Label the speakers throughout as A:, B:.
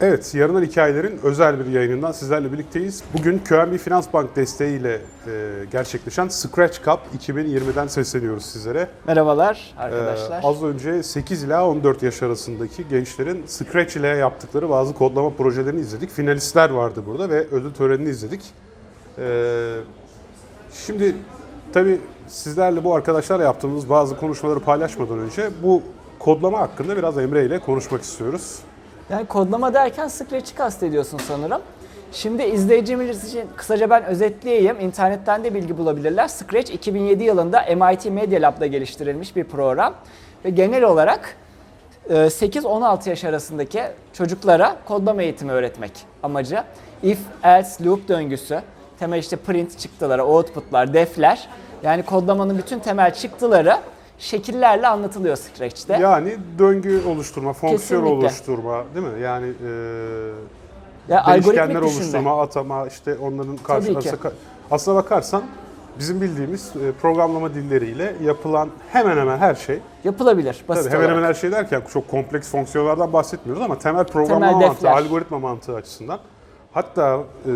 A: Evet, yarının hikayelerin özel bir yayınından sizlerle birlikteyiz. Bugün QNB Finans Bank desteğiyle e, gerçekleşen Scratch Cup 2020'den sesleniyoruz sizlere.
B: Merhabalar
A: Ee,
B: arkadaşlar.
A: az önce 8 ila 14 yaş arasındaki gençlerin Scratch ile yaptıkları bazı kodlama projelerini izledik. Finalistler vardı burada ve ödül törenini izledik. Ee, şimdi tabii sizlerle bu arkadaşlarla yaptığımız bazı konuşmaları paylaşmadan önce bu kodlama hakkında biraz Emre ile konuşmak istiyoruz.
B: Yani kodlama derken Scratch'i kastediyorsun sanırım. Şimdi izleyicimiz için kısaca ben özetleyeyim. İnternetten de bilgi bulabilirler. Scratch 2007 yılında MIT Media Lab'da geliştirilmiş bir program. Ve genel olarak e, 8-16 yaş arasındaki çocuklara kodlama eğitimi öğretmek amacı. If, else, loop döngüsü, temel işte print çıktıları, outputlar, defler. Yani kodlamanın bütün temel çıktıları şekillerle anlatılıyor Scratch'te.
A: Yani döngü oluşturma, fonksiyon
B: Kesinlikle.
A: oluşturma değil mi? Yani e,
B: Ya
A: değişkenler
B: algoritmik düşünme.
A: oluşturma, atama, işte onların
B: ki.
A: karşılaştırma. Aslına bakarsan bizim bildiğimiz e, programlama dilleriyle yapılan hemen hemen her şey,
B: Yapılabilir basit
A: tabii hemen
B: olarak.
A: hemen her şey derken çok kompleks fonksiyonlardan bahsetmiyoruz ama temel programlama
B: Temel
A: mantığı,
B: defler.
A: algoritma mantığı açısından hatta e,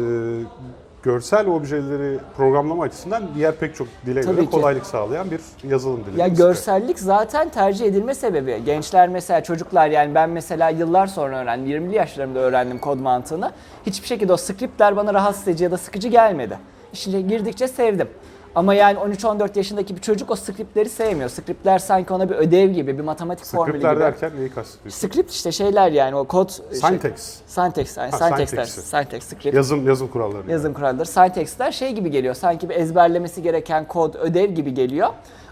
A: görsel objeleri programlama açısından diğer pek çok dile
B: Tabii
A: göre
B: ki.
A: kolaylık sağlayan bir yazılım dili.
B: Ya
A: bizde.
B: görsellik zaten tercih edilme sebebi. Gençler mesela çocuklar yani ben mesela yıllar sonra öğrendim. 20'li yaşlarımda öğrendim kod mantığını. Hiçbir şekilde o scriptler bana rahatsız edici ya da sıkıcı gelmedi. İşine girdikçe sevdim. Ama yani 13-14 yaşındaki bir çocuk o scriptleri sevmiyor. Scriptler sanki ona bir ödev gibi, bir matematik formülü gibi.
A: Scriptler derken neyi kastediyorsun?
B: Script işte şeyler yani o kod...
A: Syntax.
B: Şey, syntax, yani
A: Ha,
B: syntax'ler,
A: syntax'i.
B: syntax, script.
A: Yazım yazım kuralları.
B: yazım kuralları. Syntax'ler şey gibi geliyor. Sanki bir ezberlemesi gereken kod, ödev gibi geliyor.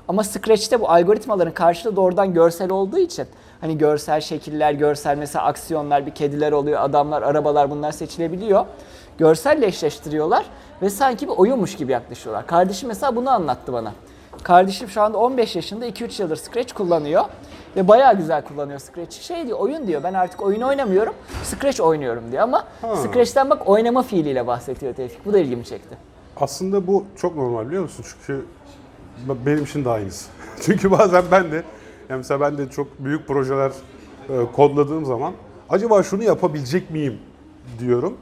B: Ama Scratch'te bu algoritmaların karşılığı doğrudan görsel olduğu için hani görsel şekiller, görsel mesela aksiyonlar, bir kediler oluyor, adamlar, arabalar bunlar seçilebiliyor. Görselle eşleştiriyorlar ve sanki bir oyunmuş gibi yaklaşıyorlar. Kardeşim mesela bunu anlattı bana. Kardeşim şu anda 15 yaşında 2-3 yıldır Scratch kullanıyor ve bayağı güzel kullanıyor Scratch'i. Şey diyor, oyun diyor ben artık oyun oynamıyorum, Scratch oynuyorum diyor ama Scratch'ten bak oynama fiiliyle bahsediyor Tevfik. Bu da ilgimi çekti.
A: Aslında bu çok normal biliyor musun? Çünkü b- benim için de aynısı. Çünkü bazen ben de yani mesela ben de çok büyük projeler e, kodladığım zaman acaba şunu yapabilecek miyim diyorum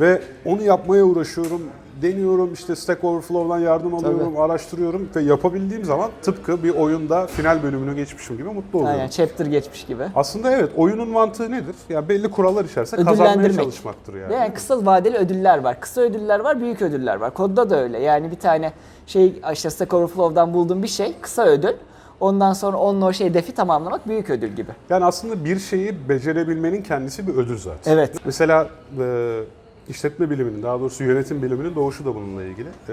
A: ve onu yapmaya uğraşıyorum. Deniyorum işte Stack Overflow'dan yardım alıyorum, araştırıyorum ve yapabildiğim zaman tıpkı bir oyunda final bölümünü geçmişim gibi mutlu oluyorum.
B: Aynen chapter geçmiş gibi.
A: Aslında evet oyunun mantığı nedir? Ya belli kurallar içerisinde kazanmaya
B: Ödüllendirmek.
A: çalışmaktır yani.
B: Ve yani kısa vadeli ödüller var. Kısa ödüller var, büyük ödüller var. Kodda da öyle. Yani bir tane şey işte Stack Overflow'dan bulduğum bir şey, kısa ödül. Ondan sonra onunla o şey defi tamamlamak büyük ödül gibi.
A: Yani aslında bir şeyi becerebilmenin kendisi bir ödül zaten.
B: Evet.
A: Mesela e, işletme biliminin, daha doğrusu yönetim biliminin doğuşu da bununla ilgili. E,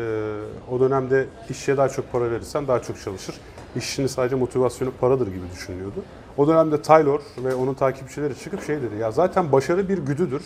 A: o dönemde işçiye daha çok para verirsen daha çok çalışır. İşçinin sadece motivasyonu paradır gibi düşünülüyordu. O dönemde Taylor ve onun takipçileri çıkıp şey dedi, ya zaten başarı bir güdüdür.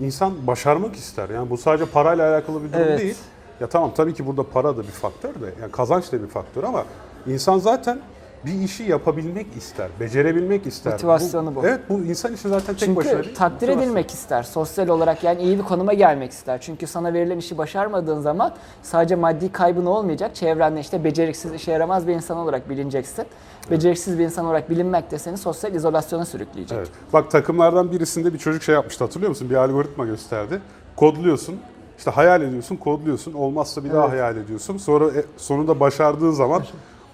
A: İnsan başarmak ister. Yani bu sadece parayla alakalı bir durum
B: Evet.
A: değil. Ya tamam tabii ki burada para da bir faktör de, yani kazanç da bir faktör ama insan zaten bir işi yapabilmek ister, becerebilmek ister.
B: Motivasyonu bu.
A: Evet bu insan için zaten tek başına
B: Çünkü
A: değil,
B: takdir
A: motivasyon.
B: edilmek ister. Sosyal olarak yani iyi bir konuma gelmek ister. Çünkü sana verilen işi başarmadığın zaman sadece maddi kaybın olmayacak. Çevrende işte beceriksiz, işe yaramaz bir insan olarak bilineceksin. Beceriksiz bir insan olarak bilinmek de seni sosyal izolasyona sürükleyecek.
A: Evet. Bak takımlardan birisinde bir çocuk şey yapmıştı hatırlıyor musun? Bir algoritma gösterdi. Kodluyorsun. işte hayal ediyorsun, kodluyorsun. Olmazsa bir daha
B: Evet.
A: hayal ediyorsun. Sonra e, sonunda başardığın zaman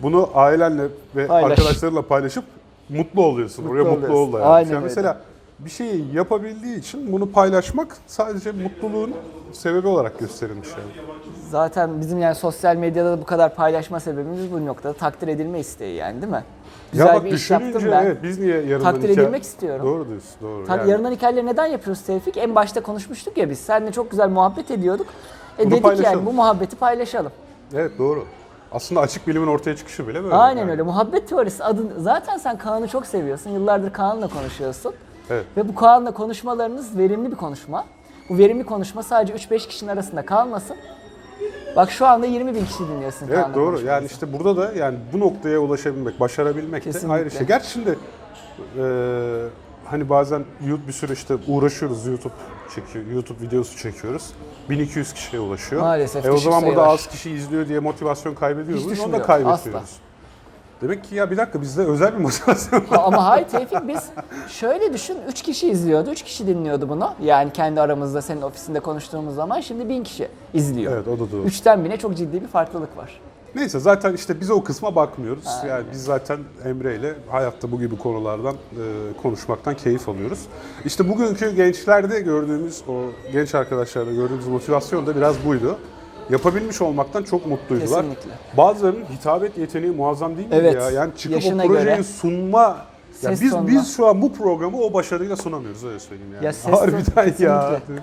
A: bunu ailenle ve
B: Paylaş.
A: arkadaşlarla paylaşıp mutlu oluyorsun. Oraya mutlu
B: oluyorsun.
A: ol da yani.
B: Aynen
A: Yani
B: öyle.
A: mesela bir şeyi yapabildiği için bunu paylaşmak sadece mutluluğun sebebi olarak gösterilmiş yani.
B: Zaten bizim yani sosyal medyada da bu kadar paylaşma sebebimiz bu noktada takdir edilme isteği yani değil mi? Güzel
A: ya bak
B: bir iş
A: düşününce
B: yaptım ben.
A: evet, biz niye yarından
B: Takdir
A: hikaye-
B: edilmek istiyorum.
A: Doğru diyorsun doğru.
B: Tabii
A: Yani-
B: yarından hikayeleri neden yapıyoruz Tevfik? En başta konuşmuştuk ya biz. Seninle çok güzel muhabbet ediyorduk. E
A: Bunu
B: dedik
A: paylaşalım.
B: yani bu muhabbeti paylaşalım.
A: Evet doğru. Aslında açık bilimin ortaya çıkışı bile böyle.
B: Aynen
A: yani.
B: öyle. Muhabbet teorisi adın zaten sen Kaan'ı çok seviyorsun. Yıllardır Kaan'la konuşuyorsun.
A: Evet.
B: Ve bu Kaan'la konuşmalarınız verimli bir konuşma. Bu verimli konuşma sadece 3-5 kişinin arasında kalmasın. Bak şu anda 20 bin kişi dinliyorsun
A: Evet
B: Kaan'la
A: doğru.
B: konuşmanızı.
A: Yani işte burada da yani bu noktaya ulaşabilmek, başarabilmek de
B: Kesinlikle.
A: ayrı şey. Gerçi şimdi e, hani bazen YouTube bir sürü işte uğraşıyoruz YouTube çekiyor, YouTube videosu çekiyoruz. 1200 kişiye ulaşıyor.
B: Maalesef
A: E o
B: düşük
A: zaman burada
B: sayılar.
A: az kişi izliyor diye motivasyon kaybediyor
B: Hiç
A: muyuz? Onu da
B: düşünmüyorum.
A: kaybediyoruz. Demek ki ya bir dakika bizde özel bir motivasyon var.
B: Ha, Ama hayır Tevfik biz şöyle düşün 3 kişi izliyordu, 3 kişi dinliyordu bunu. Yani kendi aramızda senin ofisinde konuştuğumuz zaman şimdi 1000 kişi izliyor.
A: Evet o da doğru.
B: 3'ten 1000'e çok ciddi bir farklılık var.
A: Neyse zaten işte biz o kısma bakmıyoruz. Yani biz zaten Emre ile hayatta bu gibi konulardan e, konuşmaktan keyif alıyoruz. İşte bugünkü gençlerde gördüğümüz o genç arkadaşlarda gördüğümüz motivasyon da biraz buydu. Yapabilmiş olmaktan çok mutluydular.
B: Kesinlikle.
A: Bazılarının hitabet yeteneği muazzam değil mi
B: Evet.
A: ya? Yani çıkıp
B: Yaşına
A: o projeyi
B: göre.
A: sunma ya
B: Ses
A: biz
B: tonuna.
A: biz şu an bu programı o başarıyla sunamıyoruz öyle söyleyeyim yani.
B: Ya ses tonu-
A: Harbiden ya.
B: kesinlikle.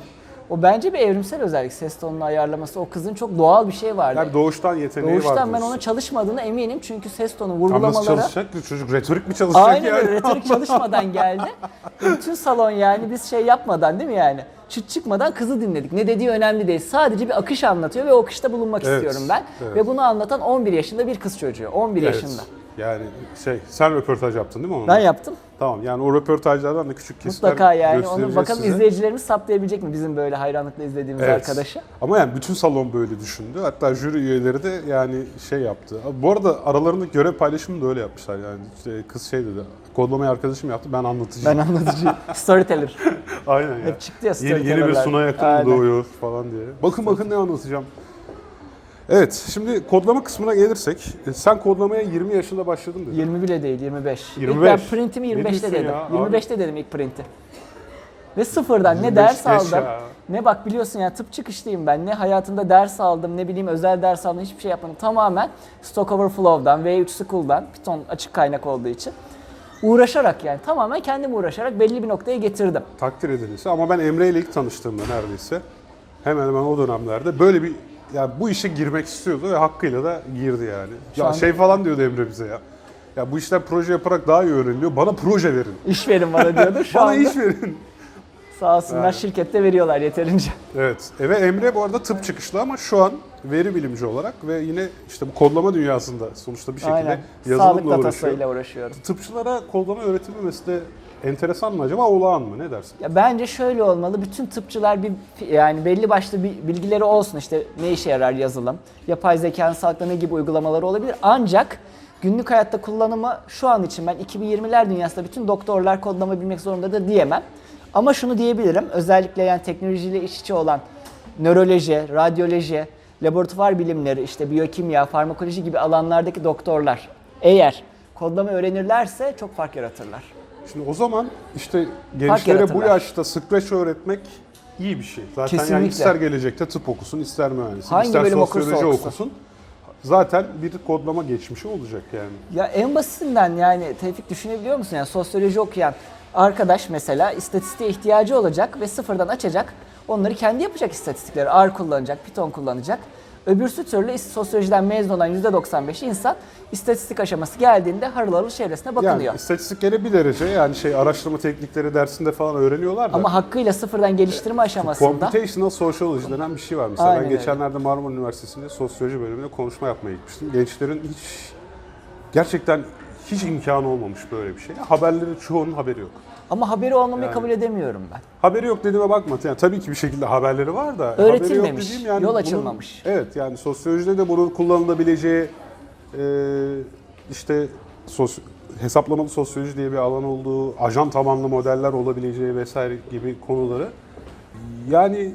B: O bence bir evrimsel özellik ses tonunu ayarlaması. O kızın çok doğal bir şey vardı.
A: Yani doğuştan yeteneği var.
B: Doğuştan ben
A: diyorsun.
B: onun çalışmadığına eminim çünkü ses tonu
A: Tam nasıl
B: vurgulamaları
A: çalışacak ki çocuk retorik mi çalışacak
B: Aynen
A: yani?
B: öyle retorik çalışmadan geldi. E, Bütün salon yani biz şey yapmadan değil mi yani? Çıt çıkmadan kızı dinledik. Ne dediği önemli değil. Sadece bir akış anlatıyor ve o akışta bulunmak
A: Evet,
B: istiyorum ben.
A: evet.
B: Ve bunu anlatan 11 yaşında bir kız çocuğu. 11 yaşında.
A: Yani şey sen röportaj yaptın değil mi onu?
B: Ben yaptım.
A: Tamam yani o röportajlardan da küçük kesitler
B: Mutlaka yani onu
A: göstereceğiz
B: bakalım
A: size.
B: izleyicilerimiz saptayabilecek mi bizim böyle hayranlıkla izlediğimiz
A: Evet.
B: arkadaşı?
A: Ama yani bütün salon böyle düşündü. Hatta jüri üyeleri de yani şey yaptı. Bu arada aralarında görev paylaşımı da öyle yapmışlar. Yani işte kız şey dedi. Kodlamayı arkadaşım yaptı ben anlatıcıyım.
B: Ben anlatıcı. Storyteller.
A: Aynen ya.
B: Hep çıktı ya
A: Yeni, yeni bir
B: storytellerler.
A: Sunay Akın
B: Aynen.
A: doğuyor falan diye. Bakın bakın ne anlatacağım. Evet şimdi kodlama kısmına gelirsek. e, Sen kodlamaya 20 yaşında başladın dedin.
B: 20 bile değil 25.
A: 25.
B: İlk ben printimi
A: Ne
B: 25'te
A: diyorsun
B: dedim.
A: ya, abi?
B: 25'te dedim ilk printi. Ve sıfırdan ne
A: 25
B: ders
A: yaş
B: aldım.
A: ya.
B: Ne bak biliyorsun ya tıp çıkışlıyım ben. Ne hayatımda ders aldım, ne bileyim özel ders aldım, hiçbir şey yapmadım. Tamamen Stack Overflow'dan, V3 School'dan, Python açık kaynak olduğu için uğraşarak yani tamamen kendim uğraşarak belli bir noktaya getirdim.
A: takdir edilirse ama ben Emre ile ilk tanıştığımda neredeyse hemen hemen o dönemlerde böyle bir yani bu işe girmek istiyordu ve hakkıyla da girdi yani. ya
B: an-
A: şey falan diyordu Emre bize ya. Ya bu işler proje yaparak daha iyi öğreniliyor. Bana proje verin.
B: İş verin bana diyordu. Şu
A: Bana
B: anda
A: iş verin.
B: sağ olsunlar şirkette veriyorlar yeterince.
A: Evet. E ve Emre bu arada tıp çıkışlı ama şu an veri bilimci olarak ve yine işte bu kodlama dünyasında sonuçta bir şekilde
B: Aynen. Sağlık
A: yazılımla uğraşıyor.
B: datasıyla uğraşıyorum.
A: Tıpçılara kodlama öğretilmemesi de enteresan mı acaba olağan mı ne dersin?
B: Ya bence şöyle olmalı. Bütün tıpçılar bir yani belli başlı bir bilgileri olsun işte ne işe yarar yazılım, yapay zekanın sağlıkta ne gibi uygulamaları olabilir. Ancak günlük hayatta kullanımı şu an için ben 2020'ler dünyasında bütün doktorlar kodlama bilmek zorundadır diyemem. Ama şunu diyebilirim. Özellikle yani teknolojiyle iç içe olan nöroloji, radyoloji, laboratuvar bilimleri, işte biyokimya, farmakoloji gibi alanlardaki doktorlar eğer kodlama öğrenirlerse çok fark yaratırlar.
A: Şimdi o zaman işte gençlere bu
B: yaratırlar.
A: yaşta Scratch öğretmek iyi bir şey. Zaten yani
B: Kesinlikle.
A: ister gelecekte tıp okusun, ister mühendislik,
B: Hangi
A: ister
B: bölüm okursa
A: sosyoloji
B: okusun.
A: okusun. Zaten bir kodlama geçmişi olacak yani.
B: Ya en basitinden yani Tevfik düşünebiliyor musun? Yani sosyoloji okuyan arkadaş mesela istatistiğe ihtiyacı olacak ve sıfırdan açacak. Onları kendi yapacak istatistikleri. R kullanacak, Python kullanacak. Öbürsü türlü is- sosyolojiden mezun olan %95 insan istatistik aşaması geldiğinde harıl harıl çevresine bakılıyor.
A: Yani istatistiklere bir derece yani şey araştırma teknikleri dersinde falan öğreniyorlar da.
B: Ama hakkıyla sıfırdan geliştirme
A: E,
B: aşamasında
A: Computational Sociology denen bir şey var mesela.
B: Aynen
A: ben
B: öyle.
A: geçenlerde Marmara Üniversitesi'nde sosyoloji bölümüne konuşma yapmaya gitmiştim. Gençlerin hiç gerçekten hiç imkanı olmamış böyle bir şey. Haberlerin çoğunun haberi yok.
B: ama haberi olmamayı
A: Yani-
B: kabul edemiyorum ben.
A: Haberi yok dediğime bakma. Yani tabii ki bir şekilde haberleri var da. haberi yok
B: Öğretilmemiş,
A: dediğim
B: yol
A: bunun-
B: açılmamış.
A: evet yani sosyolojide de bunun kullanılabileceği e, işte sos- hesaplamalı sosyoloji diye bir alan olduğu, ajan tabanlı modeller olabileceği vesaire gibi konuları. Yani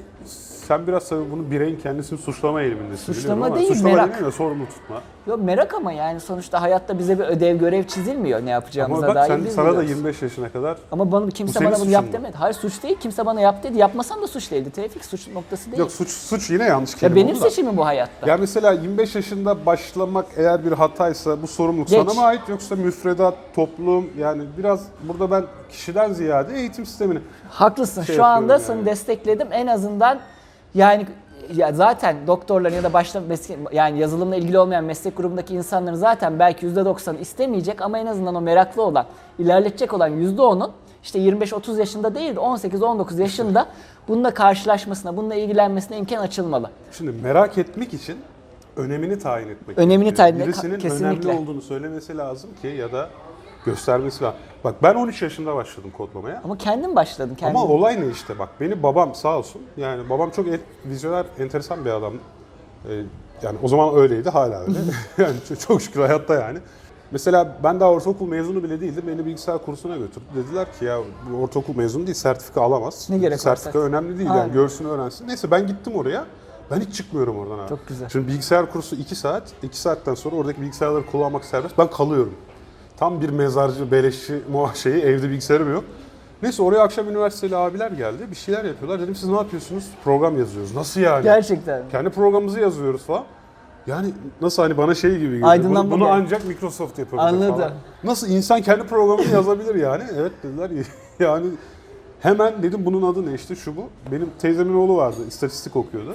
A: sen biraz tabii bunu bireyin kendisini suçlama eğilimindesin.
B: Suçlama
A: biliyorum ama
B: değil,
A: suçlama
B: merak.
A: demeyeyim de sorumlu tutma.
B: Yo merak ama yani sonuçta hayatta bize bir ödev görev çizilmiyor ne
A: Ama
B: yapacağımıza
A: bak
B: dair.
A: sen,
B: biz
A: sana da
B: biliyoruz.
A: 25 yaşına kadar
B: Ama bana
A: Bu
B: kimse
A: senin
B: bana bunu yap
A: suçun mu?
B: demedi. Hayır suç değil. Kimse bana yap dedi. Yapmasam da suç değildi. Tevfik suç noktası değil.
A: Yok suç suç yine yanlış kelime
B: ya benim
A: oldu da.
B: seçimim bu hayatta.
A: Ya mesela 25 yaşında başlamak eğer bir hataysa bu sorumluluk
B: Geç.
A: sana mı ait yoksa müfredat, toplum yani biraz burada ben kişiden ziyade eğitim sistemini
B: Haklısın.
A: şey
B: Şu anda
A: yapıyorum
B: seni
A: yani.
B: destekledim. En azından yani ya zaten doktorların ya da başta meslek- yani yazılımla ilgili olmayan meslek grubundaki insanların zaten belki %90'ı istemeyecek ama en azından o meraklı olan, ilerletecek olan %10'un işte 25-30 yaşında değil de 18-19 yaşında bununla karşılaşmasına, bununla ilgilenmesine imkan açılmalı.
A: şimdi merak etmek için önemini tayin etmek.
B: Önemini
A: gerekiyor.
B: tayin etmek,
A: Birisinin
B: kesinlikle.
A: önemli olduğunu söylemesi lazım ki ya da göstermesi lazım. Bak ben 13 yaşında başladım kodlamaya.
B: Ama kendin başladın kendin.
A: Ama olay ne işte bak beni babam sağ olsun yani babam çok en- vizyoner enteresan bir adam. Ee, yani o zaman öyleydi hala öyle. yani çok şükür hayatta yani. Mesela ben daha ortaokul mezunu bile değildim. Beni bilgisayar kursuna götürdü. Dediler ki ya bu ortaokul mezunu değil sertifika alamaz.
B: Ne gerek var
A: Sertifika
B: sertifika?
A: önemli değil
B: Aynen.
A: yani görsün öğrensin. Neyse ben gittim oraya. Ben hiç çıkmıyorum oradan abi.
B: Çok güzel.
A: Şimdi bilgisayar kursu 2 saat. 2 saatten sonra oradaki bilgisayarları kullanmak serbest. Ben kalıyorum. Tam bir mezarcı, beleşçi muha- şeyi evde bilgisayarım yok. Neyse oraya akşam üniversiteli abiler geldi. Bir şeyler yapıyorlar. Dedim siz ne yapıyorsunuz? Program yazıyoruz. Nasıl yani?
B: Gerçekten.
A: Kendi programımızı yazıyoruz falan. Yani nasıl hani bana şey gibi geliyor.
B: Aydınlanma
A: Bunu, bunu
B: geldi.
A: ancak Microsoft yapabilir
B: Anladım.
A: falan. Nasıl insan kendi programını yazabilir yani? Evet dediler yani hemen dedim bunun adı ne işte şu bu. Benim teyzemin oğlu vardı istatistik okuyordu.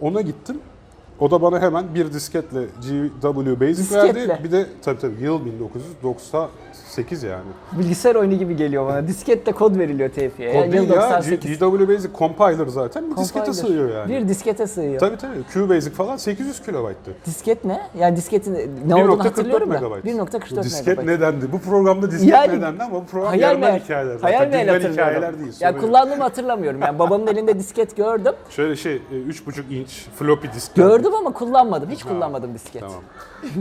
A: Ona gittim. O da bana hemen bir disketle GW Basic
B: Disketle.
A: verdi. Bir de tabii tabii yıl 1998 yani.
B: Bilgisayar oyunu gibi geliyor bana. Diskette kod veriliyor Tevfik'e.
A: O değil
B: E, Yıl
A: ya
B: 98.
A: GW Basic compiler zaten bir diskete
B: Compiler.
A: sığıyor yani.
B: Bir diskete sığıyor.
A: Tabii tabii QBasic falan 800 kilobayttı.
B: Disket ne? Yani disketin ne olduğunu
A: 1.44
B: hatırlıyorum da.
A: megabayt.
B: 1.44
A: Disket
B: megabayt.
A: nedendi? Bu programda disket
B: Yani-
A: nedendi ama bu program
B: Hayal
A: görünen
B: meyal.
A: hikayeler zaten.
B: Hayal meyal
A: Bilinen
B: hatırlıyorum.
A: hikayeler değil.
B: Ya
A: Sorun yok.
B: kullandığımı hatırlamıyorum. Yani babamın elinde disket gördüm.
A: Şöyle şey e, 3.5 inç floppy disk.
B: Gördüm ama kullanmadım. Hiç kullanmadım disket.
A: Tamam.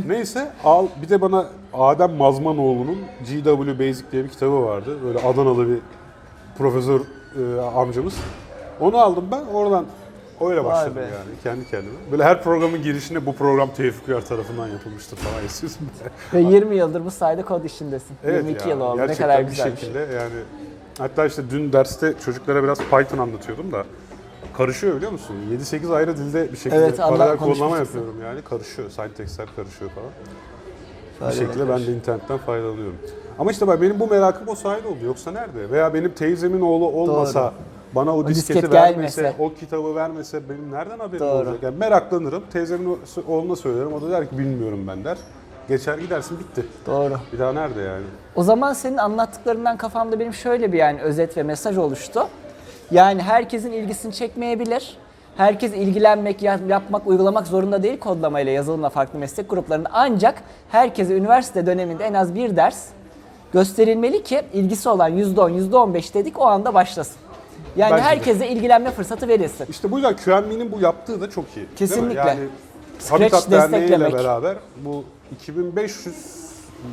A: Neyse al bir de bana Adem Mazmanoğlu'nun GW Basic diye bir kitabı vardı. Böyle Adanalı bir profesör e, amcamız. Onu aldım ben oradan öyle başladım
B: be.
A: yani kendi kendime. Böyle her programın girişine bu program Tevfik Uyar tarafından yapılmıştır falan yazıyorsun.
B: Ve 20 yıldır bu sayede kod işindesin.
A: Evet
B: 22
A: ya,
B: yıl oldu. Ne
A: gerçekten
B: kadar
A: bir
B: güzel bir şey.
A: şekilde yani hatta işte dün derste çocuklara biraz Python anlatıyordum da karışıyor biliyor musun? 7-8 ayrı dilde bir şekilde
B: Evet, anla-
A: paralel kodlama
B: konuşmuştuk.
A: yapıyorum yani karışıyor. Syntax'ler karışıyor falan.
B: Paralel
A: bir şekilde ben de internetten faydalanıyorum. Ama işte bak benim bu merakım o sayede oldu. Yoksa nerede? Veya benim teyzemin oğlu olmasa Bana o, disketi
B: disket
A: vermese,
B: gelmese.
A: o kitabı vermese benim nereden haberim
B: Doğru.
A: olacak? Yani meraklanırım, teyzemin o- oğluna söylerim. O da der ki bilmiyorum ben der. Geçer gidersin bitti.
B: Doğru.
A: Bir daha nerede yani?
B: O zaman senin anlattıklarından kafamda benim şöyle bir yani özet ve mesaj oluştu. Yani herkesin ilgisini çekmeyebilir. Herkes ilgilenmek, ya- yapmak, uygulamak zorunda değil kodlamayla, yazılımla farklı meslek gruplarında. Ancak herkese üniversite döneminde en az bir ders gösterilmeli ki ilgisi olan %10, %15 dedik o anda başlasın. Yani
A: Bence de.
B: herkese ilgilenme fırsatı verilsin.
A: İşte bu yüzden QMB'nin bu yaptığı da çok iyi. değil mi?
B: Kesinlikle.
A: Yani
B: Scratch
A: Habitat Derneği ile
B: desteklemek.
A: beraber bu 2500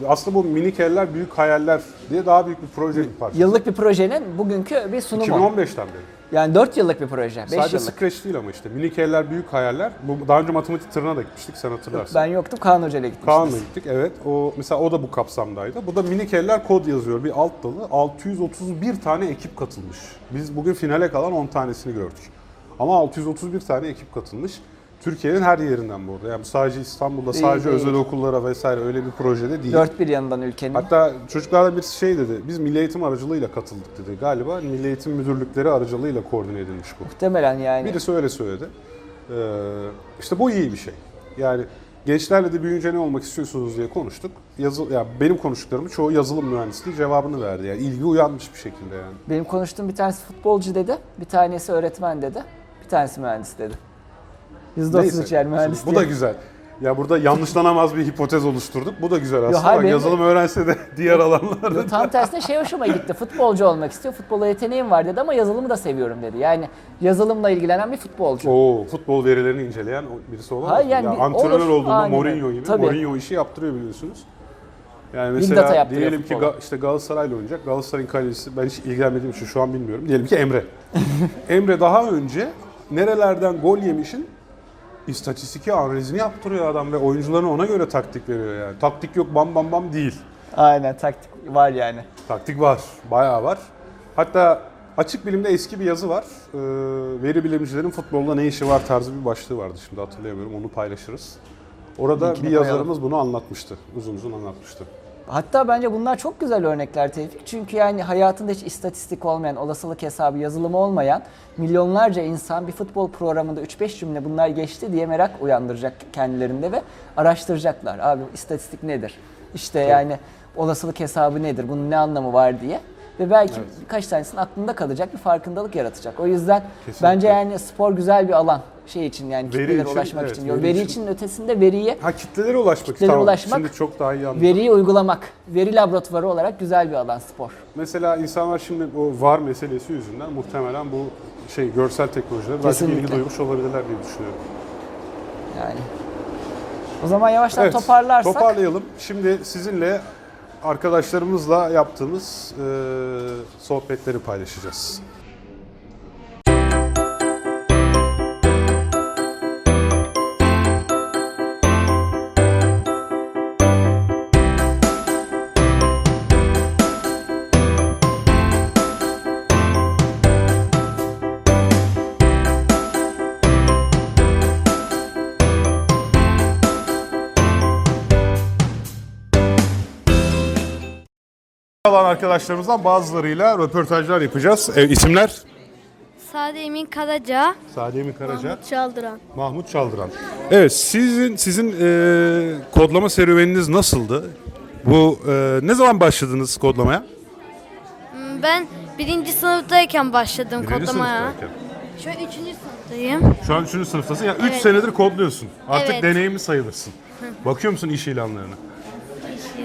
A: aslında bu minik eller büyük hayaller diye daha büyük bir proje bir parça.
B: Yıllık bir projenin bugünkü bir sunumu.
A: 2015'ten beri.
B: Yani 4 yıllık bir proje, 5
A: Sadece
B: yıllık.
A: Scratch değil ama işte. Minik eller büyük hayaller. Bu daha önce matematik tırına da gitmiştik sen hatırlarsın.
B: Ben yoktum, Kaan Hoca ile gitmiştim.
A: Kaan'la gittik evet. O mesela o da bu kapsamdaydı. Bu da minik eller kod yazıyor bir alt dalı. 631 tane ekip katılmış. Biz bugün finale kalan 10 tanesini gördük. Ama 631 tane ekip katılmış. Türkiye'nin her yerinden bu arada. Yani bu sadece İstanbul'da,
B: Değil,
A: sadece
B: değil.
A: özel okullara vesaire öyle bir projede değil.
B: Dört bir yanından ülkenin.
A: Hatta çocuklardan birisi şey dedi. Biz Milli Eğitim aracılığıyla katıldık dedi. Galiba Milli Eğitim Müdürlükleri aracılığıyla koordine edilmiş bu.
B: Muhtemelen yani.
A: Birisi öyle söyledi. Ee, işte bu iyi bir şey. Yani gençlerle de büyüyünce ne olmak istiyorsunuz diye konuştuk. Yazı, ya benim konuştuklarımın çoğu yazılım mühendisliği cevabını verdi. Yani ilgi uyanmış bir şekilde yani.
B: Benim konuştuğum bir tanesi futbolcu dedi, bir tanesi öğretmen dedi, bir tanesi mühendis dedi. %33
A: Neyse.
B: yer mühendis
A: Bu da
B: diye.
A: güzel. Ya burada yanlışlanamaz bir hipotez oluşturduk. Bu da güzel aslında.
B: hayır,
A: Bak,
B: benim-
A: yazılım öğrense de diğer alanlarda.
B: Yo, Tam tersine şey hoşuma gitti. Futbolcu olmak istiyor. Futbola yeteneğim var dedi ama yazılımı da seviyorum dedi. Yani yazılımla ilgilenen bir futbolcu.
A: Oo, futbol verilerini inceleyen o- birisi olamaz.
B: Hayır,
A: mı?
B: yani
A: ya,
B: bir-
A: antrenör
B: olur.
A: olduğunda
B: Aynen.
A: Mourinho gibi.
B: Tabii.
A: Mourinho işi yaptırıyor biliyorsunuz. Yani
B: data
A: mesela
B: yaptırıyor
A: diyelim ki
B: futbola.
A: Ga- işte Galatasaray'la oynayacak. Galatasaray'ın kalecisi ben hiç ilgilenmediğim için şu an bilmiyorum. Diyelim ki Emre. Emre daha önce nerelerden gol yemişin istatistiki analizini yaptırıyor adam ve oyuncularına ona göre taktik veriyor yani. Taktik yok bam bam bam değil.
B: Aynen taktik var yani.
A: Taktik var, bayağı var. Hatta açık bilimde eski bir yazı var. Ee, veri bilimcilerin futbolda ne işi var tarzı bir başlığı vardı. Şimdi hatırlayamıyorum, onu paylaşırız. Orada
B: Linkini
A: bir
B: koyalım.
A: yazarımız bunu anlatmıştı. Uzun uzun anlatmıştı.
B: Hatta bence bunlar çok güzel örnekler Tevfik. Çünkü yani hayatında hiç istatistik olmayan, olasılık hesabı, yazılımı olmayan milyonlarca insan bir futbol programında 3-5 cümle bunlar geçti diye merak uyandıracak kendilerinde ve araştıracaklar. Abi istatistik nedir? İşte yani olasılık hesabı nedir? Bunun ne anlamı var diye. Ve belki birkaç tanesinin aklında kalacak bir farkındalık yaratacak. O yüzden
A: Kesinlikle.
B: bence yani spor güzel bir alan şey için yani
A: Veri
B: kitlelere
A: için,
B: ulaşmak
A: evet,
B: için. Yo,
A: veri
B: Veri
A: için.
B: için ötesinde veriyi
A: Ha kitlelere ulaşmak.
B: Kitlelere
A: tamam.
B: ulaşmak,
A: Şimdi çok daha iyi anladım.
B: Veriyi uygulamak, veri laboratuvarı olarak güzel bir alan spor.
A: Mesela insanlar şimdi o var meselesi yüzünden muhtemelen bu şey görsel teknolojilere daha çok
B: Kesinlikle.
A: ilgi duymuş olabilirler diye düşünüyorum.
B: Yani O zaman yavaştan
A: Evet,
B: toparlarsak
A: Toparlayalım. Şimdi sizinle arkadaşlarımızla yaptığımız eee, sohbetleri paylaşacağız. Kalan arkadaşlarımızdan bazılarıyla röportajlar yapacağız. E, isimler?
C: Sade Emin Karaca,
A: Sade Emin Karaca, Mahmut,
C: Çaldıran.
A: Çaldıran. Evet, sizin sizin eee, kodlama serüveniniz nasıldı? Bu eee, ne zaman başladınız kodlamaya?
C: Ben birinci sınıftayken başladım
A: Birinci
C: kodlamaya.
A: sınıftayken.
C: Şu an üçüncü sınıftayım.
A: Şu an üçüncü sınıftasın. Ya 3
C: Evet.
A: senedir kodluyorsun. Artık
C: Evet.
A: deneyimli sayılırsın. Bakıyor musun iş ilanlarına?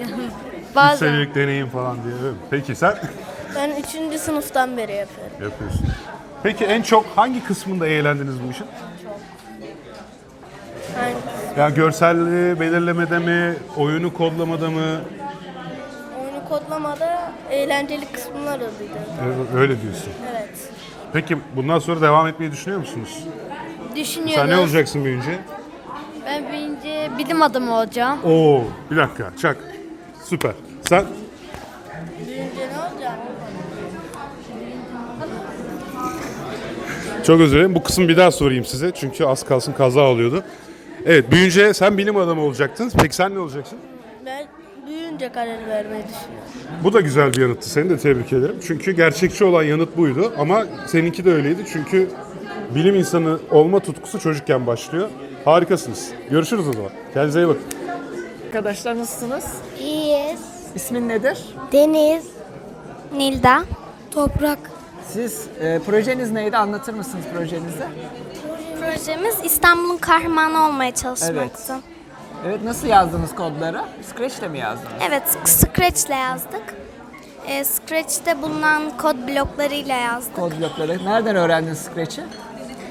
A: Üç
C: Bazen
A: senelik deneyim falan diye. Evet. Peki sen
D: Ben üçüncü sınıftan beri yapıyorum.
A: yapıyorsun. Peki en çok hangi kısmında eğlendiniz bu işin?
D: Yani
A: Ya görselliği belirlemede mi, oyunu kodlamada mı?
D: oyunu kodlamada eğlenceli kısımlar oluyordu.
A: Ö- Öyle diyorsun.
D: Evet.
A: Peki bundan sonra devam etmeyi düşünüyor musunuz?
C: düşünüyoruz.
A: Sen ne olacaksın büyüyünce?
C: Ben birinci bilim adamı olacağım.
A: Oo, bir dakika. Çak. Süper. Sen
D: Büyünce ne olacak?
A: çok özür dilerim. Bu kısmı bir daha sorayım size. Çünkü az kalsın kaza oluyordu. Evet, büyüyünce sen bilim adamı olacaktın. Peki sen ne olacaksın?
D: Ben büyüyünce karar vermeyi düşünüyorum.
A: Bu da güzel bir yanıttı. Seni de tebrik ederim. Çünkü gerçekçi olan yanıt buydu ama seninki de öyleydi. Çünkü bilim insanı olma tutkusu çocukken başlıyor. Harikasınız. Görüşürüz o zaman. Kendinize iyi bakın.
B: arkadaşlar nasılsınız?
E: İyiyiz.
B: İsmin nedir?
E: Deniz.
C: Nilda. Toprak.
B: Siz e, projeniz neydi? Anlatır mısınız projenizi?
E: Projemiz İstanbul'un kahramanı olmaya çalışmaktı.
B: Evet nasıl yazdınız kodları? Scratch'te mi yazdınız?
E: Evet, Scratch'le yazdık. Ee, Scratch'te bulunan kod bloklarıyla yazdık.
B: Kod blokları. Nereden öğrendiniz Scratch'i?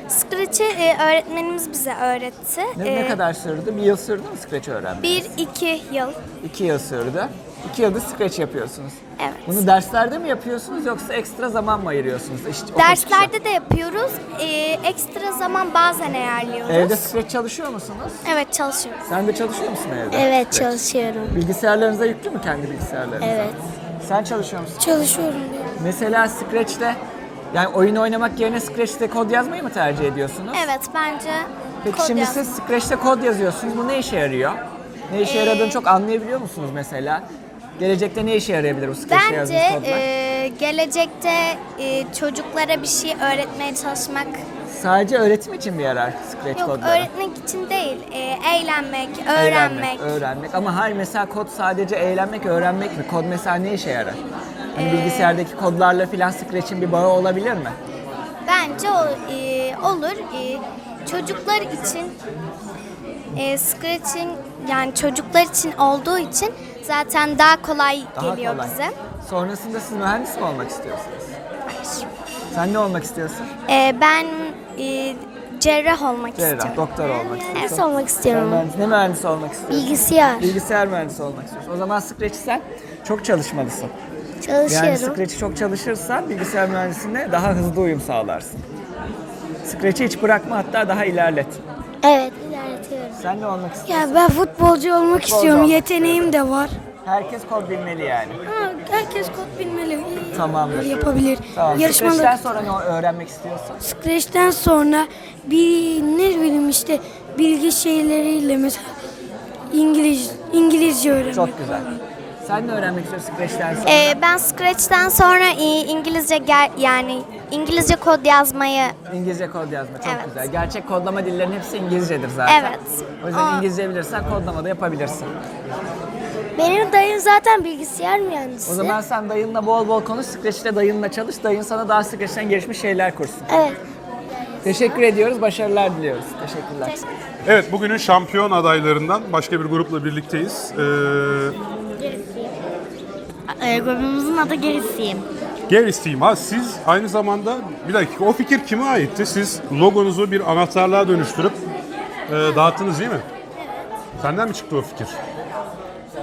E: Scratch'i e, öğretmenimiz bize öğretti.
B: Ne,
E: Ee,
B: ne kadar sürdü? Bir yıl sürdü mü Scratch öğrenmek?
E: Bir, iki yıl.
B: İki yıl sürdü. İki yılda Scratch yapıyorsunuz.
E: Evet.
B: Bunu derslerde mi yapıyorsunuz yoksa ekstra zaman mı ayırıyorsunuz? İşte okul çıkışı.
E: Derslerde de yapıyoruz. Ee, ekstra zaman bazen ayarlıyoruz.
B: Evde Scratch çalışıyor musunuz?
E: Evet, çalışıyoruz.
B: Sen de çalışıyor musun evde?
E: Evet, çalışıyorum.
B: Bilgisayarlarınıza yüklü mü kendi bilgisayarlarınıza?
E: Evet.
B: Sen çalışıyor musun?
E: Çalışıyorum.
B: Mesela Scratch'te yani oyun oynamak yerine Scratch'te kod yazmayı mı tercih ediyorsunuz?
E: Evet, bence
B: Peki
E: kod
B: şimdi
E: yaz-
B: siz Scratch'te kod yazıyorsunuz. Bu ne işe yarıyor? Ne
E: Ee,
B: işe yaradığını çok anlayabiliyor musunuz mesela? Gelecekte ne işe yarayabilir bu Scratch'te
E: Bence
B: yazdığınız kodlar?
E: e, gelecekte e, çocuklara bir şey öğretmeye çalışmak
B: Sadece öğretim için mi yarar Scratch
E: yok
B: kodları?
E: öğretmek için değil e, eğlenmek,
B: Eğlenmek,
E: öğrenmek.
B: öğrenmek. Ama hayır mesela kod sadece eğlenmek, öğrenmek mi? Kod mesela ne işe yarar? Hani
E: Ee,
B: bilgisayardaki kodlarla filan Scratch'in bir bağı olabilir mi?
E: Bence o- e, olur. E, çocuklar için e, Scratch'in yani çocuklar için olduğu için zaten daha kolay
B: Daha
E: geliyor
B: kolay.
E: bize.
B: Sonrasında siz mühendis mi olmak istiyorsunuz? Sen ne olmak istiyorsun?
E: E, ben e, cerrah olmak
B: Cerrah,
E: istiyorum.
B: doktor olmak istiyorsun.
E: Mühendis olmak
B: Sen
E: istiyorum.
B: mühendis, ne mühendisi olmak istiyorsun?
E: Bilgisayar.
B: Bilgisayar mühendisi olmak istiyorsun. O zaman Scratch'i sen çok çalışmalısın. Yani Scratch'i çok çalışırsan bilgisayar mühendisliğine daha hızlı uyum sağlarsın. Scratch'i hiç bırakma hatta daha ilerlet.
E: Evet, ilerletiyorum.
B: Sen ne olmak istiyorsun?
C: Ya ben futbolcu olmak
B: istiyorum. olmak
C: Yeteneğim de var.
B: Herkes kod bilmeli yani.
C: herkes kod bilmeli.
B: Tamamdır.
C: Yapabilir.
B: Tamam. Scratch'ten
C: Yarışmalar
B: sonra ne öğrenmek istiyorsun?
C: Scratch'ten sonra bir ne bileyim işte bilgi şeyleriyle mesela İngiliz İngilizce öğrenmek.
B: Çok güzel. Sen ne öğrenmek istiyorsun Scratch'ten sonra?
E: Ee, ben Scratch'ten sonra e, İngilizce ger- yani İngilizce kod yazmayı
B: İngilizce kod yazma çok
E: Evet.
B: güzel. Gerçek kodlama dillerinin hepsi İngilizcedir zaten.
E: Evet.
B: O yüzden
E: Aa.
B: İngilizce bilirsen kodlama da yapabilirsin.
E: Benim dayım zaten bilgisayar mühendisi.
B: O zaman sen dayınla bol bol konuş, Scratch'te dayınla çalış. Dayın sana daha Scratch'ten gelişmiş şeyler kursun.
E: Evet.
B: Teşekkür ediyoruz, başarılar diliyoruz. Teşekkürler.
A: Evet, bugünün şampiyon adaylarından başka bir grupla birlikteyiz. Ee,
F: Ee, grubumuzun adı Gerisiyim.
A: Garry's Team. Ha, siz aynı zamanda bir dakika o fikir kime aitti? Siz logonuzu bir anahtarlığa dönüştürüp e, dağıttınız değil mi? Senden mi çıktı o fikir?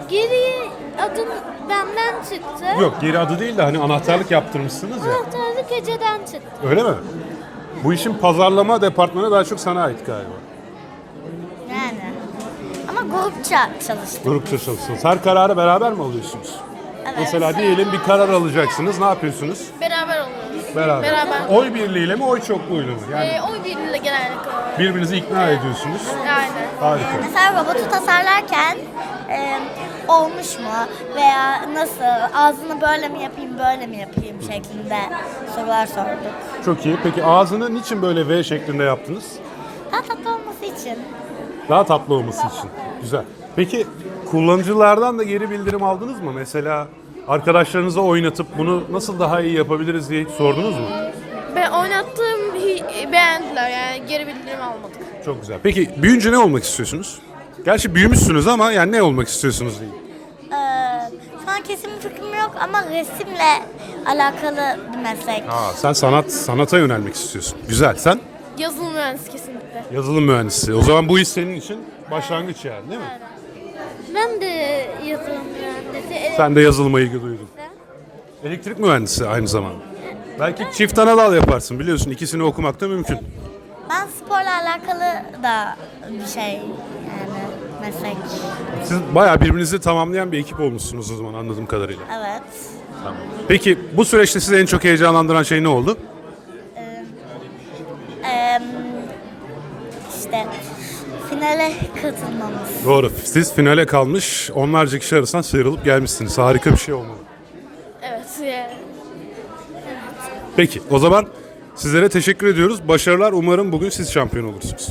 G: Geriye adın benden çıktı.
A: Yok geri adı değil de hani anahtarlık yaptırmışsınız ya.
G: Anahtarlık Ece'den çıktı.
A: Öyle mi? Bu işin pazarlama departmanı daha çok sana ait galiba.
F: Yani. Ama grupça çalıştık.
A: Grupça çalışıyorsunuz. Her kararı beraber mi alıyorsunuz? Mesela diyelim bir karar alacaksınız. Ne yapıyorsunuz?
D: Beraber oluyoruz.
A: Beraber.
D: Beraber.
A: Oy birliğiyle mi, oy çokluğuyla mı? Yani
D: Ee, oy birliğiyle genellikle.
A: birbirinizi ikna ediyorsunuz.
D: Aynen.
A: Harika.
F: Mesela robotu tasarlarken e, olmuş mu veya nasıl ağzını böyle mi yapayım böyle mi yapayım şeklinde sorular sorduk.
A: Çok iyi. Peki ağzını niçin böyle V şeklinde yaptınız?
F: Daha tatlı olması için.
A: Daha tatlı olması için. Güzel. Peki kullanıcılardan da geri bildirim aldınız mı? Mesela arkadaşlarınıza oynatıp bunu nasıl daha iyi yapabiliriz diye hiç sordunuz mu?
D: Ben oynattığım hi- beğendiler yani geri bildirim almadık.
A: Çok güzel. Peki büyünce ne olmak istiyorsunuz? Gerçi büyümüşsünüz ama yani ne olmak istiyorsunuz diye.
F: E, şu an kesin bir fikrim yok ama resimle alakalı bir meslek.
A: Aa, sen sanat sanata yönelmek istiyorsun. Güzel. Sen
D: Yazılım mühendisi kesinlikle.
A: yazılım mühendisi. O zaman bu iş senin için başlangıç yani değil mi?
G: Ben de yazılım mühendisi. Evet,
A: Sen de yazılıma ilgi duydun. Elektrik mühendisi aynı zamanda. Belki çift ana dal yaparsın biliyorsun. ikisini okumak da mümkün.
F: Ben sporla alakalı da bir şey yani meslek.
A: Siz bayağı birbirinizi tamamlayan bir ekip olmuşsunuz o zaman anladığım kadarıyla.
F: Evet.
A: Peki bu süreçte sizi en çok heyecanlandıran şey ne oldu?
F: Eee işte finale katılmamız.
A: Doğru. Siz finale kalmış onlarca kişi arasından sıyrılıp gelmişsiniz. Harika bir şey olmalı.
D: Evet yani.
A: Peki o zaman sizlere teşekkür ediyoruz. Başarılar. Umarım bugün siz şampiyon olursunuz.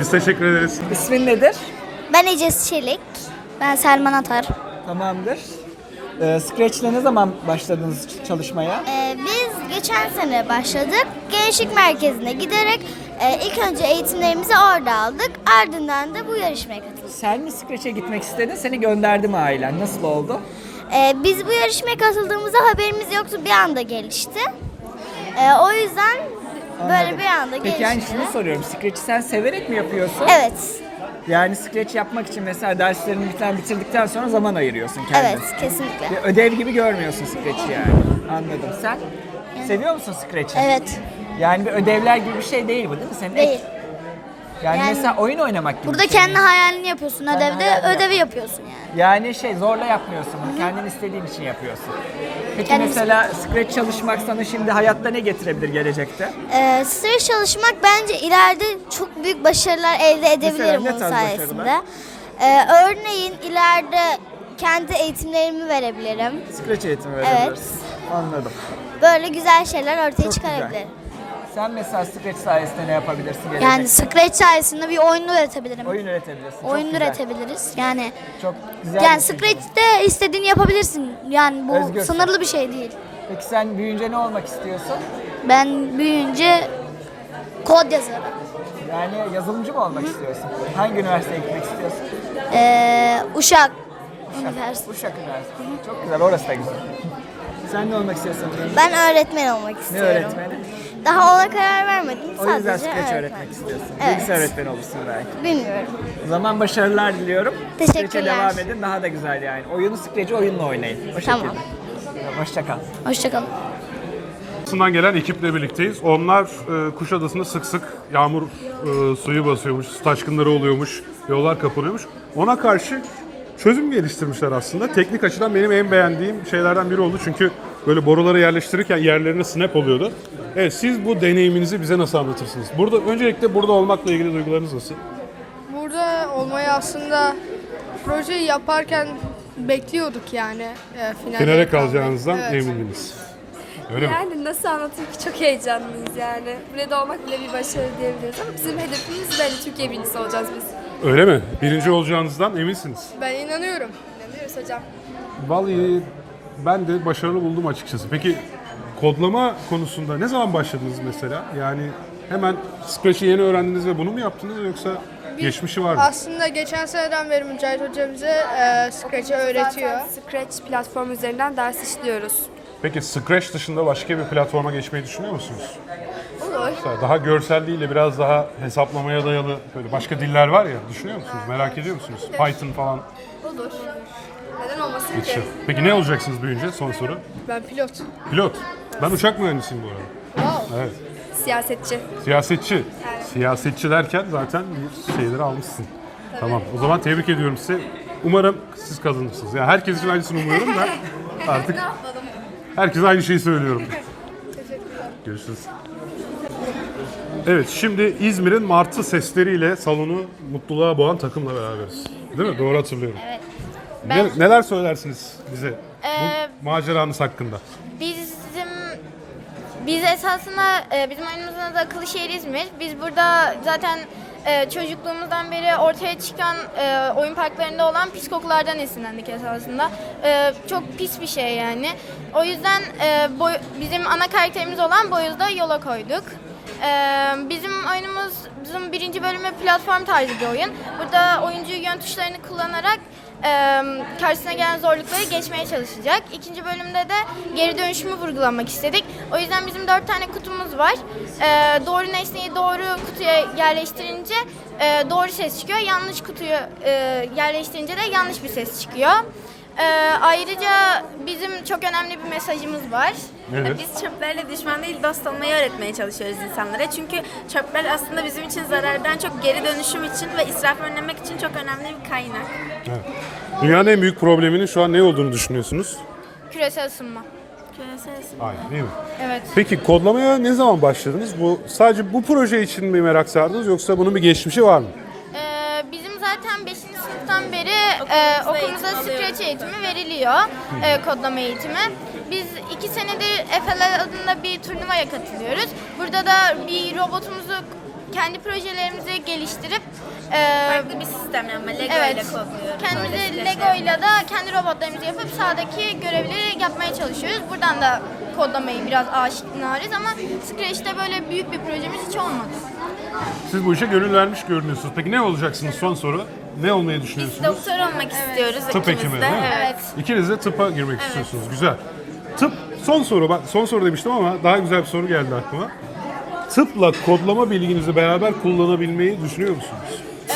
A: Biz teşekkür ederiz.
B: İsmin nedir?
E: Ben Ece Çelik. Ben Selman Atar.
B: Tamamdır. Ee, Scratch'le ne zaman başladınız ç- çalışmaya?
E: Ee, biz geçen sene başladık. Gençlik merkezine giderek e, ilk önce eğitimlerimizi orada aldık. Ardından da bu yarışmaya katıldık.
B: Sen mi Scratch'e gitmek istedin? Seni gönderdi mi ailen? Nasıl oldu?
E: Ee, biz bu yarışmaya katıldığımızda haberimiz yoktu. Bir anda gelişti. Ee, o yüzden böyle bir anda
B: Peki yani
E: gelişti.
B: şunu soruyorum. Scratch'i sen severek mi yapıyorsun?
E: Evet,
B: Yani Scratch yapmak için mesela derslerini biten- bitirdikten sonra zaman ayırıyorsun kendine.
E: evet kesinlikle.
B: Bir Ödev gibi görmüyorsun Scratch'i yani. Anladım. Sen seviyor musun Scratch'i?
E: Evet,
B: Yani bir ödevler gibi bir şey değil bu değil mi? Senin ek-
E: değil.
B: yani,
E: Yani-
B: mesela oyun oynamak gibi
E: Burada
B: bir şey.
E: kendi hayalini yapıyorsun. Ödevde
B: hayalini
E: ödevi yapıyorsun yani.
B: Yani şey zorla yapmıyorsun. bunu, Kendin istediğin için yapıyorsun. Peki
E: Kendim-
B: mesela Scratch çalışmak sana şimdi hayatta ne getirebilir gelecekte?
E: Ee, stres çalışmak bence ileride çok büyük başarılar elde
B: Mesela
E: edebilirim
B: ne
E: bunun
B: tarz
E: sayesinde.
B: başarılar?
E: Ee, örneğin ileride kendi eğitimlerimi verebilirim.
B: Scratch eğitimi
E: Evet.
B: verebilirsin. Anladım.
E: Böyle güzel şeyler ortaya
B: Çok
E: çıkarabilirim.
B: Sen mesela Scratch sayesinde ne yapabilirsin gelecekte?
E: Yani Scratch sayesinde bir oyun üretebilirim.
B: Oyun üretebilirsin. Çok
E: oyun
B: güzel.
E: üretebiliriz. Yani
B: Çok güzel.
E: yani
B: bir şey.
E: Scratch'te istediğini yapabilirsin. Yani bu
B: Özgürsün.
E: sınırlı bir şey değil.
B: Peki sen büyüyünce ne olmak istiyorsun?
E: Ben büyüyünce kod yazarım.
B: Yani yazılımcı mı olmak istiyorsun? Hangi üniversiteye gitmek istiyorsun?
E: Ee, Uşak
B: Üniversite.
E: Üniversitesi.
B: Uşak Üniversitesi. Çok güzel, orası da güzel. Sen ne olmak istiyorsun?
E: Ben öğretmen olmak
B: Ne
E: istiyorum.
B: öğretmeni?
E: Daha ona karar vermedim.
B: O yüzden
E: Sadece
B: skeç
E: öğretmen.
B: öğretmek istiyorsun.
E: Evet.
B: Bilgisayar öğretmeni olursun belki.
E: Bilmiyorum.
B: O zaman başarılar diliyorum.
E: Teşekkürler.
B: Skeçe devam edin, daha da güzel yani. Oyunu skeci oyunla oynayın. O şekilde.
E: Tamam.
B: Hoşça kal.
E: Hoşçakalın.
A: Kuşadası'ndan gelen ekiple birlikteyiz. Onlar e, Kuşadası'nda sık sık yağmur e, suyu basıyormuş, taşkınları oluyormuş, yollar kapanıyormuş. Ona karşı çözüm geliştirmişler aslında. Teknik açıdan benim en beğendiğim şeylerden biri oldu. Çünkü böyle boruları yerleştirirken yerlerine snap oluyordu. Evet, siz bu deneyiminizi bize nasıl anlatırsınız? Burada öncelikle burada olmakla ilgili duygularınız nasıl?
H: Burada olmayı aslında projeyi yaparken bekliyorduk yani. e, finale,
A: Finale
H: kalmayı.
A: kalacağınızdan
H: Evet.
A: emindiniz. Öyle mi?
I: Yani nasıl anlatayım ki çok heyecanlıyız yani. Burada olmak bile bir başarı diyebiliriz ama bizim hedefimiz belli Türkiye birincisi olacağız biz.
A: Öyle mi? Birinci olacağınızdan eminsiniz.
H: Ben inanıyorum. İnanıyoruz hocam.
A: Vallahi ben de başarılı buldum açıkçası. Peki kodlama konusunda ne zaman başladınız mesela? Yani hemen Scratch'i yeni öğrendiniz ve bunu mu yaptınız yoksa geçmişi var mı?
H: Aslında geçen seneden beri Mücahit hocamıza e, Scratch'i öğretiyor.
I: Zaten Scratch platformu üzerinden ders işliyoruz.
A: Peki Scratch dışında başka bir platforma geçmeyi düşünüyor musunuz?
I: Olur.
A: Mesela Daha görselliğiyle biraz daha hesaplamaya dayalı böyle başka diller var ya düşünüyor musunuz? Merak ediyor musunuz? Python falan
I: Olur. Neden olmasın ki?
A: geçiyor. Peki ne olacaksınız büyüyünce? Son soru.
H: Ben pilot.
A: Pilot. Ben uçak mühendisiyim bu arada. Evet.
I: Siyasetçi.
A: Siyasetçi. Siyasetçi derken zaten bir şeyleri almışsın. Tamam. O zaman tebrik ediyorum sizi. Umarım siz kazanırsınız. Yani herkes için aynısını umuyorum da artık herkese aynı şeyi söylüyorum. Görüşürüz. Evet şimdi İzmir'in martı sesleriyle salonu mutluluğa boğan takımla beraberiz. Değil mi? Doğru hatırlıyorum. Evet. neler söylersiniz bize
D: Ee,
A: bu maceranız hakkında?
D: Bizim biz esasında e, bizim oyunumuzun adı Akıllı Şehir İzmir. Biz burada zaten e, çocukluğumuzdan beri ortaya çıkan e, oyun parklarında olan pis kokulardan esinlendik esasında. E, çok pis bir şey yani. O yüzden e, boy- bizim ana karakterimiz olan Boyuz'da yola koyduk. E, bizim oyunumuzun birinci bölümü platform tarzı bir oyun. Burada oyuncuyu yön tuşlarını kullanarak e, karşısına gelen zorlukları geçmeye çalışacak. İkinci bölümde de geri dönüşümü vurgulamak istedik. O yüzden bizim dört tane kutumuz var. E, doğru nesneyi doğru kutuya yerleştirince e, doğru ses çıkıyor. Yanlış kutuyu e, yerleştirince de yanlış bir ses çıkıyor. E, ayrıca bizim çok önemli bir mesajımız var.
A: Evet.
J: Biz çöplerle düşman değil dost olmayı öğretmeye çalışıyoruz insanlara. Çünkü çöpler aslında bizim için zarardan çok geri dönüşüm için ve israf önlemek için çok önemli bir kaynak.
A: Dünyanın en büyük probleminin şu an ne olduğunu düşünüyorsunuz?
D: Küresel ısınma.
A: Aynen değil mi?
D: Evet.
A: Peki kodlamaya ne zaman başladınız? Bu sadece bu proje için mi merak sardınız yoksa bunun bir geçmişi var mı?
D: Ee, bizim zaten 5. sınıftan beri e, okulumuza
J: eğitim alıyoruz.
D: Scratch eğitimi veriliyor, e, kodlama eğitimi. Biz iki senedir FLL adında bir turnuvaya katılıyoruz. Burada da bir robotumuzu, kendi projelerimizi geliştirip e,
J: Farklı bir sistemle ama Lego ile
D: evet,
J: kodluyoruz.
D: kendimizi
J: Öyle
D: Lego ile de kendi robotlarımızı yapıp sahadaki görevleri yapmaya çalışıyoruz. Buradan da kodlamayı biraz aşinarız ama Scratch'te böyle büyük bir projemiz hiç olmadı.
A: Siz bu işe gönül vermiş görünüyorsunuz. Peki ne olacaksınız? Son soru. Ne olmayı düşünüyorsunuz?
J: Doktor olmak istiyoruz
A: Tıp
J: ikimiz
A: hekimi
J: de.
A: değil mi?
J: Evet.
A: İkiniz de tıpa girmek istiyorsunuz. Güzel. Tıp son soru. Ben son soru demiştim ama daha güzel bir soru geldi aklıma. Tıpla kodlama bilginizi beraber kullanabilmeyi düşünüyor musunuz?
D: Ee,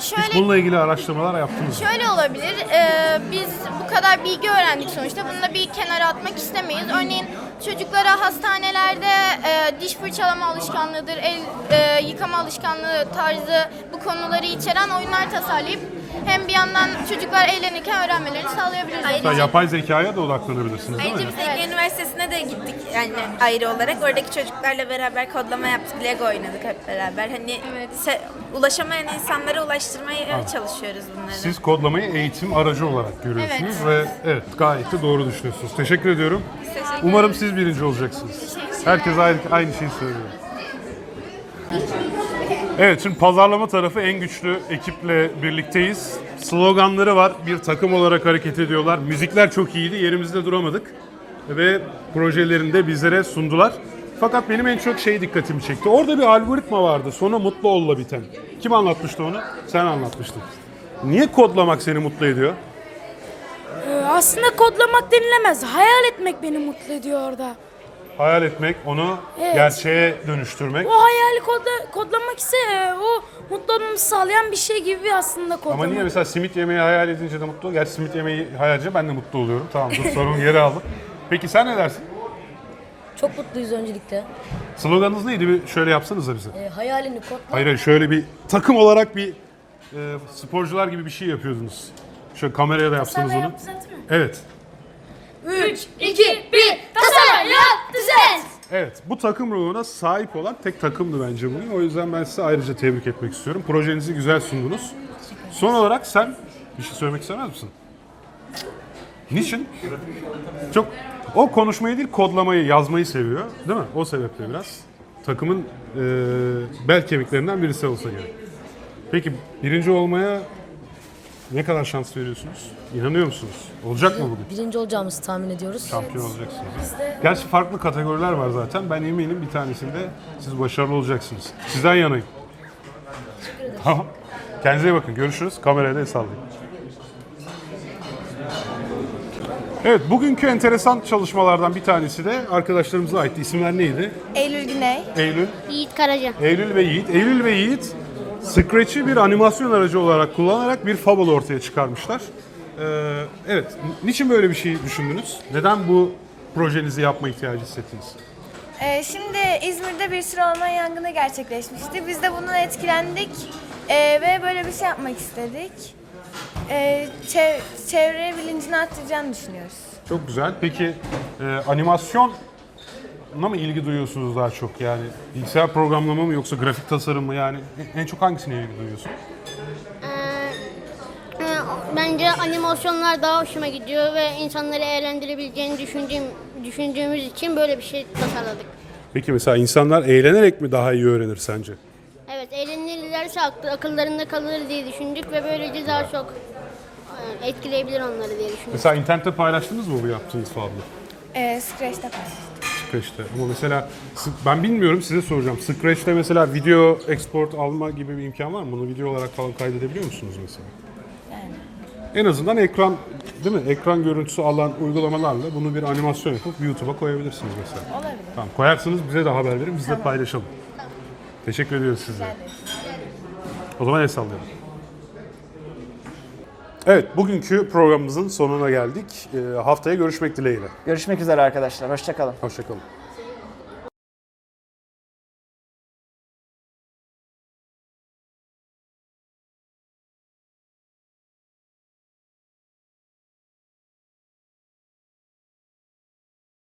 D: şöyle
A: Hiç bununla ilgili araştırmalar yaptınız mı?
D: Şöyle olabilir. e, biz bu kadar bilgi öğrendik sonuçta. Bunu da bir kenara atmak istemeyiz. Örneğin çocuklara hastanelerde e, diş fırçalama alışkanlığıdır, el e, yıkama alışkanlığı tarzı bu konuları içeren oyunlar tasarlayıp hem bir yandan çocuklar eğlenirken öğrenmelerini sağlayabiliriz.
A: Hatta yapay zekaya da odaklanabilirsiniz değil mi?
J: Ayrıca biz Ege Üniversitesi'ne de gittik yani ayrı olarak. Oradaki çocuklarla beraber kodlama yaptık, Lego oynadık hep beraber. Hani se- ulaşamayan insanlara ulaştırmaya çalışıyoruz bunları.
A: Siz kodlamayı eğitim aracı olarak görüyorsunuz ve evet gayet de doğru düşünüyorsunuz. Teşekkür ediyorum. Umarım siz birinci olacaksınız. Herkes aynı, aynı şeyi söylüyor. Evet şimdi pazarlama tarafı en güçlü ekiple birlikteyiz. Sloganları var. Bir takım olarak hareket ediyorlar. Müzikler çok iyiydi. Yerimizde duramadık. Ve projelerini de bizlere sundular. Fakat benim en çok şey dikkatimi çekti. Orada bir algoritma vardı. Sonu mutlu olla biten. Kim anlatmıştı onu? Sen anlatmıştın. Niye kodlamak seni mutlu ediyor?
K: Ee, aslında kodlamak denilemez. Hayal etmek beni mutlu ediyor orada.
A: Hayal etmek, onu
K: Evet.
A: gerçeğe dönüştürmek.
K: O hayali kodla, kodlamak ise e, o mutlu olmamızı sağlayan bir şey gibi aslında kodlamak.
A: Ama niye mesela simit yemeyi hayal edince de mutlu? Gerçi simit yemeyi hayal edince ben de mutlu oluyorum. Tamam dur sorunu geri aldım. Peki sen ne dersin?
L: Çok mutluyuz öncelikle.
A: Sloganınız neydi? Bir şöyle yapsanız da bize.
L: Ee, hayalini kodla.
A: Hayır hayır şöyle bir takım olarak bir e, sporcular gibi bir şey yapıyordunuz. Şöyle kameraya da yapsanız onu. Evet.
K: 3, 2, 1. Tasarım, yap, düzen.
A: Evet, bu takım ruhuna sahip olan tek takımdı bence bugün. O yüzden ben size ayrıca tebrik etmek istiyorum. Projenizi güzel sundunuz. Son olarak sen bir şey söylemek istemez misin? Niçin? Çok o konuşmayı değil kodlamayı, yazmayı seviyor, değil mi? O sebeple biraz takımın eee, bel kemiklerinden birisi olsa gerek. Peki birinci olmaya ne kadar şans veriyorsunuz? İnanıyor musunuz? Olacak mı bugün?
L: Birinci olacağımızı tahmin ediyoruz.
A: Şampiyon olacaksınız. Gerçi farklı kategoriler var zaten. Ben eminim bir tanesinde siz başarılı olacaksınız. Sizden yanayım. Tamam. Kendinize iyi bakın. Görüşürüz. Kameraya da el sallayın. Evet, bugünkü enteresan çalışmalardan bir tanesi de arkadaşlarımıza aitti. İsimler neydi?
I: Eylül Güney.
A: Eylül.
I: Yiğit Karaca.
A: Eylül ve Yiğit. Eylül ve Yiğit Scratch'i bir animasyon aracı olarak kullanarak bir fable ortaya çıkarmışlar. Ee, evet, ni- niçin böyle bir şey düşündünüz? Neden bu projenizi yapma ihtiyacı hissettiniz?
D: E,
I: Ee, şimdi İzmir'de bir sürü orman yangını gerçekleşmişti. Biz de bundan etkilendik
D: e,
I: ee, ve böyle bir şey yapmak istedik.
D: E,
I: Ee, çev- çevre bilincini arttıracağını düşünüyoruz.
A: Çok güzel. Peki e, animasyona mı ilgi duyuyorsunuz daha çok? Yani bilgisayar programlama mı yoksa grafik tasarım mı? Yani en- en çok hangisine ilgi duyuyorsunuz?
D: Ee, Bence animasyonlar daha hoşuma gidiyor ve insanları eğlendirebileceğini düşündüğüm, düşündüğümüz için böyle bir şey tasarladık.
A: Peki mesela insanlar eğlenerek mi daha iyi öğrenir sence?
D: Evet, eğlenirlerse aklı- akıllarında kalır diye düşündük ve böylece daha çok e, etkileyebilir onları diye düşündük.
A: Mesela internette paylaştınız mı bu yaptığınız fablo?
I: Ee, Scratch'te paylaştık.
A: Scratch'te. Ama mesela sık- ben bilmiyorum size soracağım. Scratch'te mesela video export alma gibi bir imkan var mı? Bunu video olarak falan kaydedebiliyor musunuz mesela? En azından ekran değil mi? Ekran görüntüsü alan uygulamalarla bunu bir animasyon yapıp YouTube'a koyabilirsiniz mesela.
I: Olabilir.
A: Tamam koyarsanız bize de haber verin biz de paylaşalım. Teşekkür ediyoruz size. O zaman el sallayalım. Evet bugünkü programımızın sonuna geldik. Ee, haftaya görüşmek dileğiyle.
B: Görüşmek üzere arkadaşlar. Hoşçakalın.
A: Hoşçakalın.